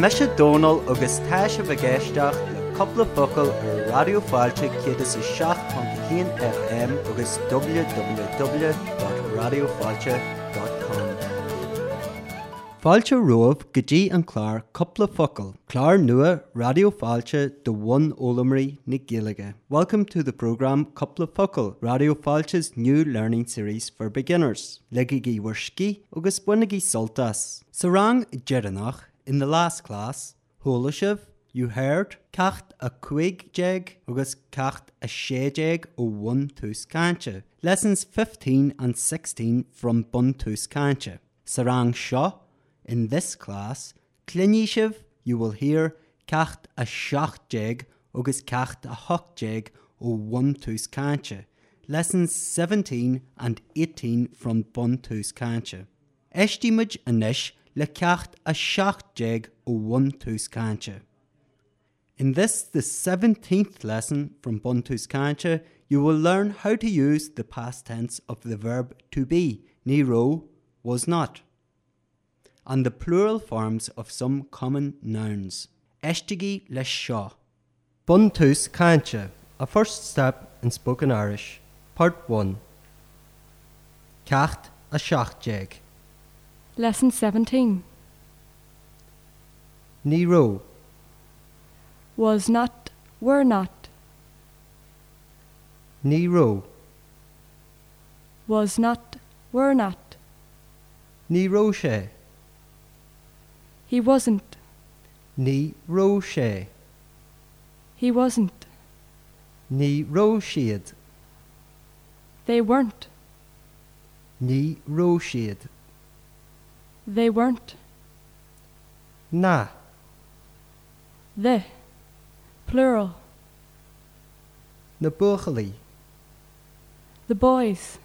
me se dóal agus tá se bhgéisteach le coppla focail ar radioáilte chéad is i seach an chéan FM agus www.radioáilte.com. Fáilte roimh gotí an chláir coppla focail, Chlár nua radioáilte do bhain ólamarí na giige. Welcome to the program Coppla Focail, Radioáilte's new learning series for beginners, legaí bhuiiscí agus bunaí soltas. Sa rang jeannach in the last class, Holashiv, you heard cecht a cuig jeg agus cecht a sééig ó bhain túscáinte. Lessons 15 and 16 from bun túscáinte. Sa rang seo, In this class, Clinishiv, you will hear cecht a seachteg agus cecht a hochteg ó bhaús cáinte, lessons 17 and 18 from Bonús cáinte. Eistíimiid inis le cecht a seachteg ó bhaús cáinte. In this, the 17th lesson from Bontu's Kancha, you will learn how to use the past tense of the verb to be, Nero was not. and the plural forms of some common nouns. Eshtigi les sha. Buntus Kancha, a first step in spoken Irish, part 1. Cacht a shachtjeg. Lesson 17 Nero, was not, were not, Nero, was not, were not, Nero she, he wasn't, Nero she, he wasn't, Nero sheed, they weren't, Nero sheed. they weren't, Na, the, plural, na buchali, the boys,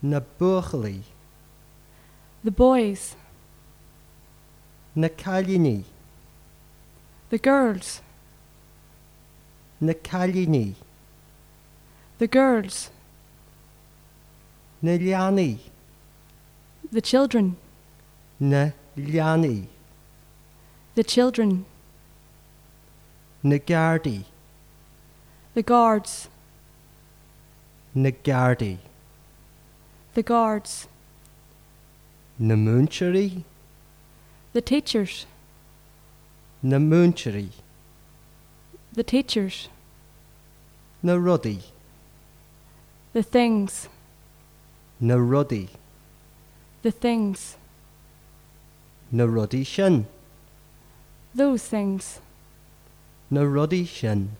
na buchali, the boys, na kalini, the girls, na kalini, the girls, na liani, the children, na liani. the children, na gardaí the guards, na gardaí the guards, na múnseirí the teachers, na múnseirí the teachers, na rudaí the things, na rudaí the things, na rudaí sin those things, na rudaí sin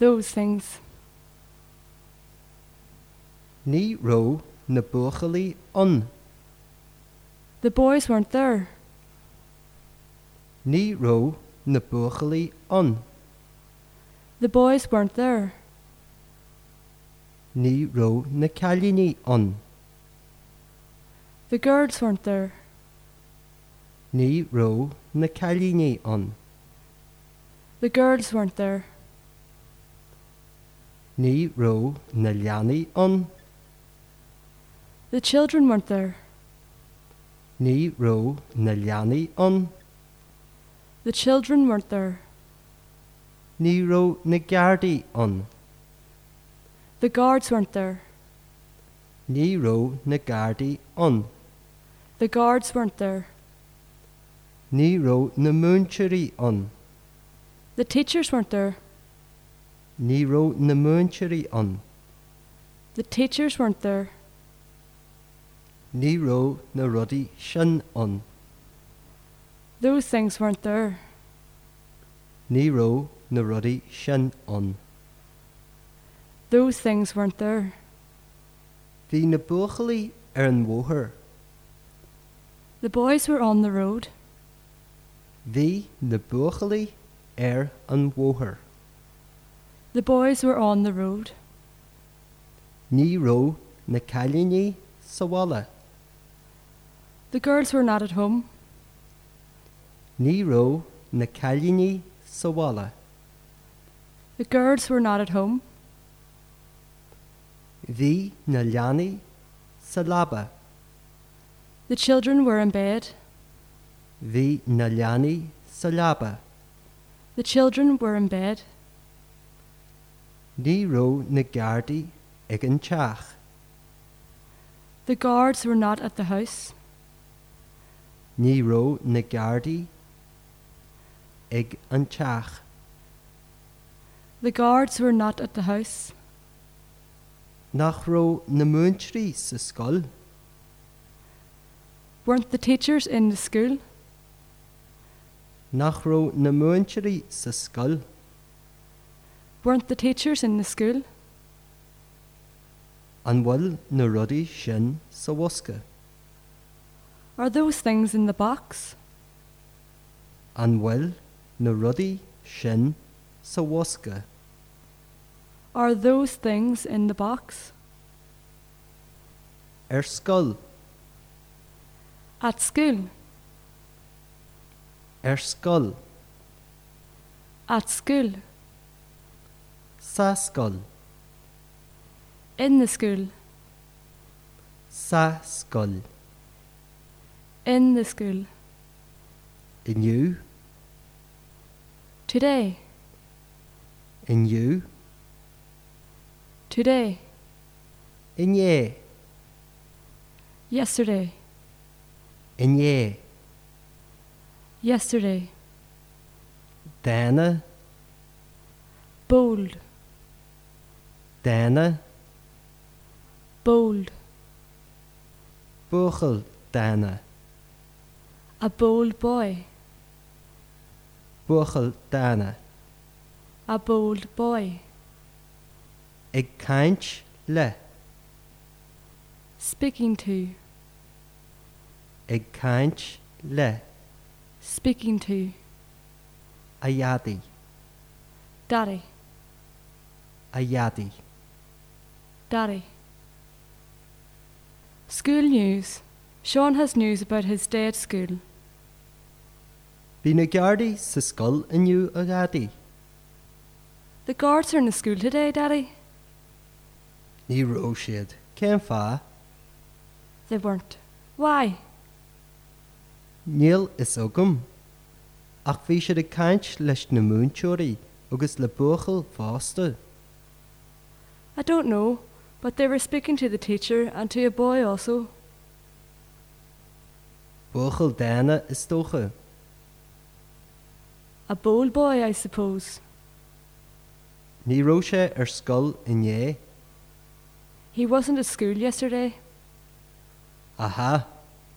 those things, ní ró na buchalaí an the boys weren't there, ní ró na buchalaí an the boys weren't there, ní ró na cailíní an the girls weren't there, ní ró na cailíní an the girls weren't there. ní ró na leanaí an The children weren't there. ní ró na leanaí an The children weren't there. ní ró na gardaí an The guards weren't there. ní ró na gardaí an The guards weren't there. Ní ró na múnseirí an, The teachers weren't there. ní ró na múnseirí an, The teachers weren't there. ní ró na rudaí sin an, Those things weren't there. ní ró na rudaí sin an. Those things weren't there. Bhí na buchalaí ar er an mhthir, The boys were on the road. hí na buchalaí ar er an mhthir, The boys were on the road. ní ró na cailíní sahile, The girls were not at home. ní ró na cailíní sahile, The girls were not at home. hí na leanaí sa labba, The children were in bed. Bhí na leanaí sa leaba. The children were in bed. Ní ró na gardaí ag an teach. The guards were not at the house. Ní ró na gardaí ag an teach. The guards were not at the house. Nach ró na múintrí sa scoil. Weren't the teachers in the school? Nach ró na múintrí sa scoil. Weren't the teachers in the school? An bhfuil na rudaí sin sa bhuasca. Are those things in the box? An bhfuil na rudaí sin sa bhuasca. Are those things in the box? Ar scoil At school. ar scoil At school. sa scoil In the school. sa scoil In the school. inniu Today. inniu Today. inné Yesterday. inné Yesterday. déna Bold. déna Bold. buchail déna A bold boy. buchail déna A bold boy. ag caiint le Speaking to. ag caiint le Speaking to. a dheadaí Daddy. a dheadaí Daddy. School news. Sean has news about his day at school. Bhí na gardaí sa scoil inniu a dheadaí The guards are in the school today, Daddy. ní ró siad céim fá They weren't. Why? Níl is agam. Ach bhí siad a caiint leis na múnteirí agus le buchail fásta. I don't know, but they were speaking to the teacher and to a boy also. Buchail déna is tócha. A bold boy, I suppose. Ní ró sé ar scoil inné He wasn't at school yesterday. aha.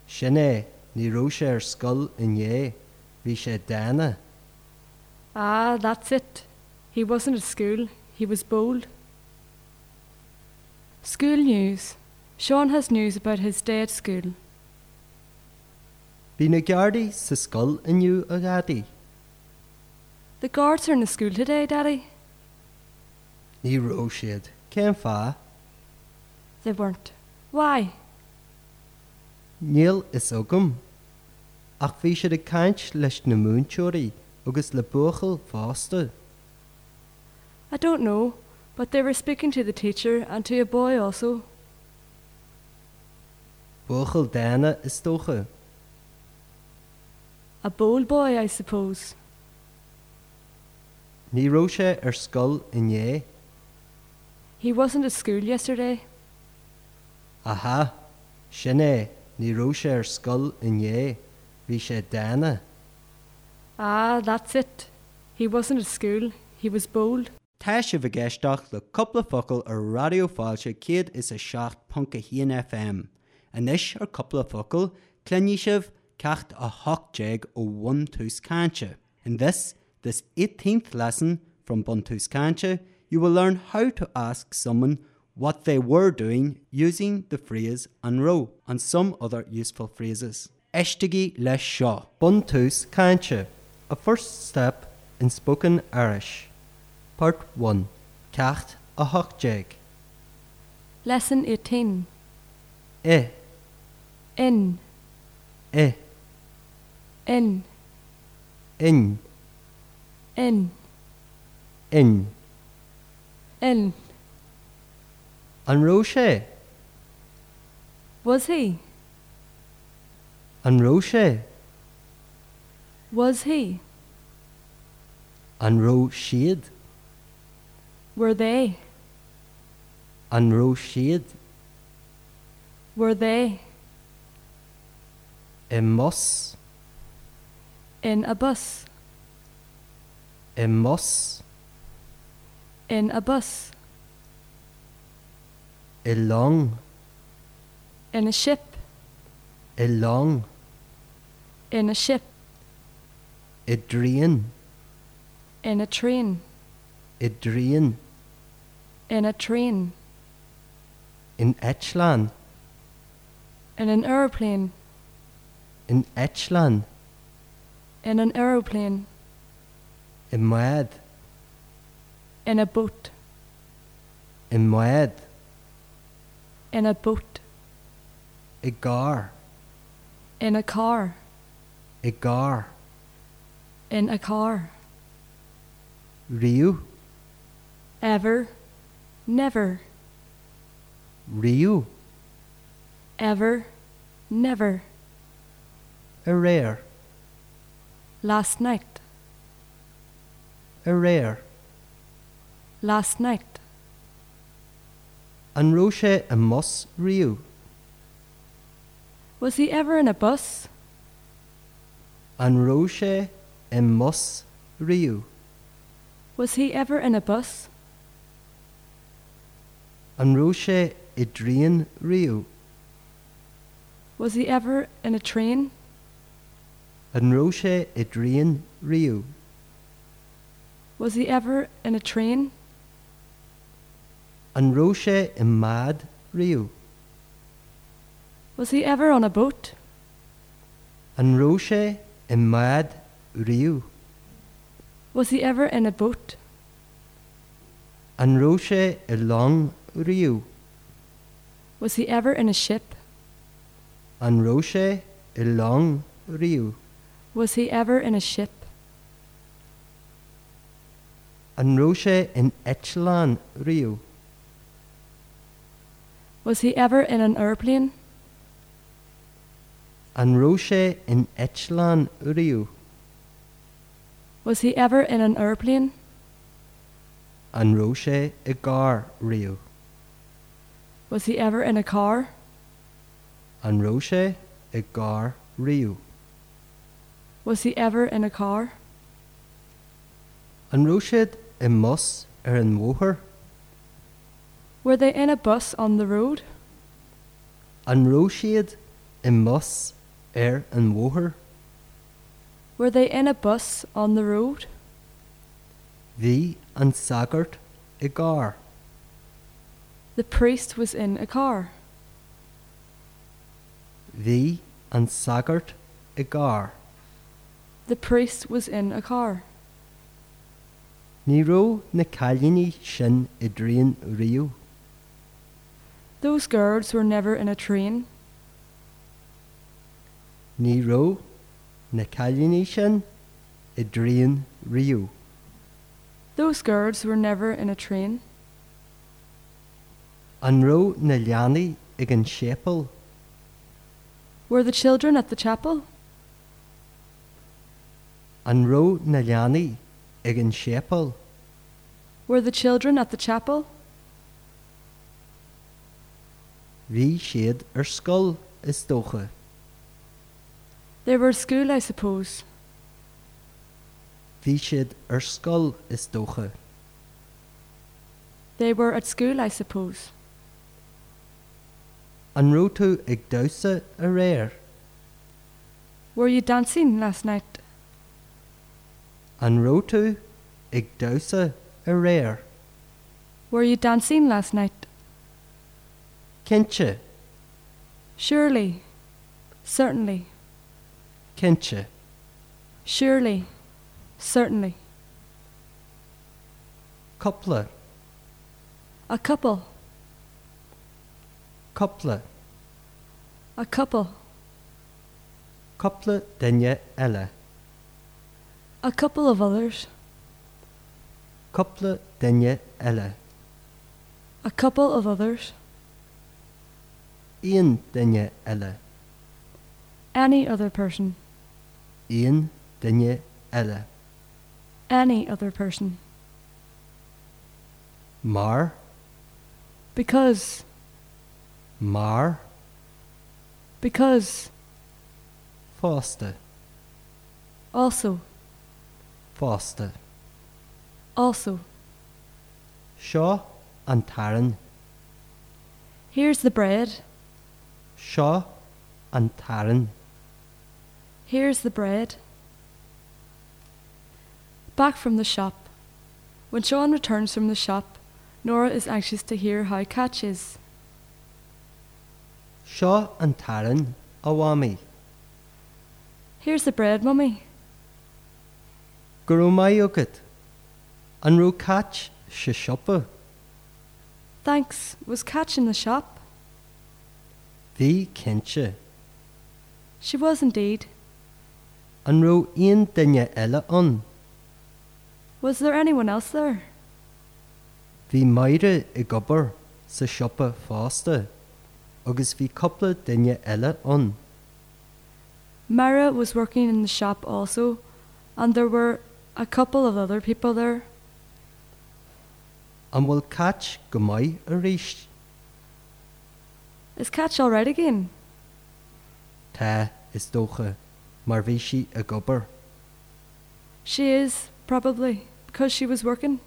Sinné ní ró sé ar scoil inné, hí sé déna. Ah, that's it. He wasn't at school. He was bold. School news. Sean has news about his day at school. Bhí na gardaí sa scoil inniu a gadaí. The guards are in the school today, Daddy. Ní ró siad céim fá. They weren't. Why? Níl is agam. Ach bhí siad a caiint leis na múnteirí agus le buchail fásta. I don't know, but they were speaking to the teacher and to a boy also. Buchail déna is tócha. A bold boy, I suppose. Ní ró sé ar scoil inné He wasn't at school yesterday. aha er sinné ní ró sé ar scoil inné hí sé déna Ah, that's it. He wasn't at school. He was bold. Tá se bh geisteach le coppla focail ar radioáilte céad is a seach punca híon FM. Anis ar coppla focail clenní sibh cecht a hoéig ó one túscáinte. In this, this 18th lesson from Bontuscancha, you will learn how to ask someone what they were doing using the phrase an row and some other useful phrases. Eshtigi les seo. Buntus Kancha, a first step in spoken Irish. Part 1. Cacht a hochjeg. Lesson 18. E, In, e, in, in, in, in. in. An roche, Was he? an roche. Was he? An ró siad? Were they? An ró siad? Were they? I E mos? In a bus. I e mos? In a bus. I e long? In a ship. I e long? In a ship. I dríon? In a train. I dríon? In a train. In Eichlan? In an aeroplane. In Eichlan? In an aeroplane. I muad? In a boat. I muad? In a boat. I E gar? In a car. I gar? In a car. Riú? Ever. Never. Riú? Ever. Never. A réir? Last night. A réir? Last night. An ró sé a mos riú? Was he ever in a bus? An ró sé i mos riú? Was he ever in a bus? An e ró sé i dríon riú? Was he ever in a train? An e ró sé i dríon riú? Was he ever in a train? An ró sé i mad riú? Was he ever on a boat? An ró sé i mad riú? Was he ever in a boat? An ró sé i long riú? Was he ever in a ship? An ró sé i long riú? Was he ever in a ship? An ró sé in Eichlan riú? Was he ever in an airplane? An ró sé in Eichlan riú? Was he ever in an airplane? An ró sé i gar riú? Was he ever in a car? An ró sé i gar riú? Was he ever in a car? An ró siad i mos ar er an mthóthair? Were they in a bus on the road? An ró siad i mos ar er an mthóthair? Were they in a bus on the road? Bhí an sagart i gar. The priest was in a car. Bhí an sagart i gar. The priest was in a car. Ní ró na cailíní sin i dríon riú. Those girls were never in a train. Ní ró na cailíní sin i dríon riú. Those girls were never in a train. An ró na leanaí ag an sépal. Were the children at the chapel? An ró na leanaí ag an sépal. Were the children at the chapel? Bhí siad ar scoil is dócha. They were at school, I suppose. Bhí siad ar scoil is dócha. They were at school, I suppose. An ró tú ag dosa a réir. Were you dancing last night? An ró tú ag dosa a réir. Were you dancing last night? Kense, Surely. Certainly. kense. Surely. Certainly. Coupla, A couple. coupla, A couple. coupla dunne eile. A couple of others. Coupla dunne eile. A couple of others. Íon dunne eile. Any other person. Íon dunne eile. Any other person. Mar, Because, mar, because, fásta, also, fásta. also. Seo an taran, Here's the bread. seo an taran, Here's the bread. Back from the shop. When Sean returns from the shop, Nora is anxious to hear how Catch is. seo an taran a bhhaí. Here's the bread, Mummy. Gurú mai agad. An rú cait se siopa, Thanks. Was Catch in the shop? bhí cinse. She was indeed. An rú on dunne eile an, Was there anyone else there? bhí maire i gobar sa siopa fásta, agus bhí coppla dunne eile an. Mara was working in the shop also, and there were a couple of other people there. An bhfuil cait go maiid a ríist Is Catch all right again? tá is dócha, mar bhí si a gobar. She is, probably, because she was working.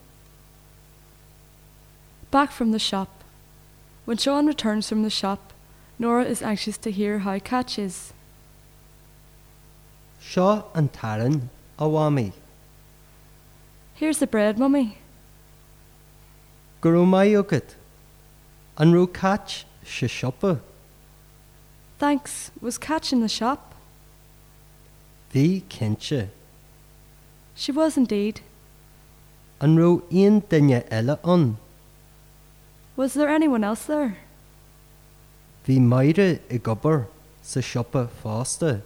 Back from the shop. When Sean returns from the shop, Nora is anxious to hear how Catch is. Seo an taran a bhhaí. Here's the bread, Mummy. Gurú mai agad. An rú cait se siopa, Thanks. Was Catch in the shop? bhí cinse. She was indeed. An rú on dunne eile an, Was there anyone else there? bhí maire i gobar sa siopa fásta,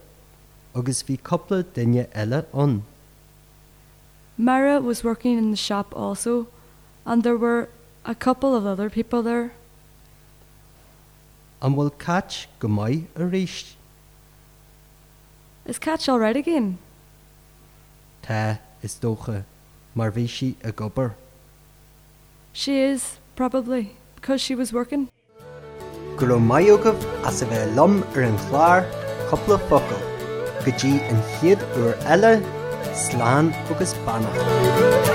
agus bhí coppla dunne eile an, Mara was working in the shop also, and there were a couple of other people there. an bhfuil cait go maiid a ríist, Is Catch all right again? tá is dócha, mar bhí si a gobar. She is, probably, because she was working. Gro maioogah as a bheith lom ar an chláir coppla focail, gotí an chiad uair eile, sláán agus bannach.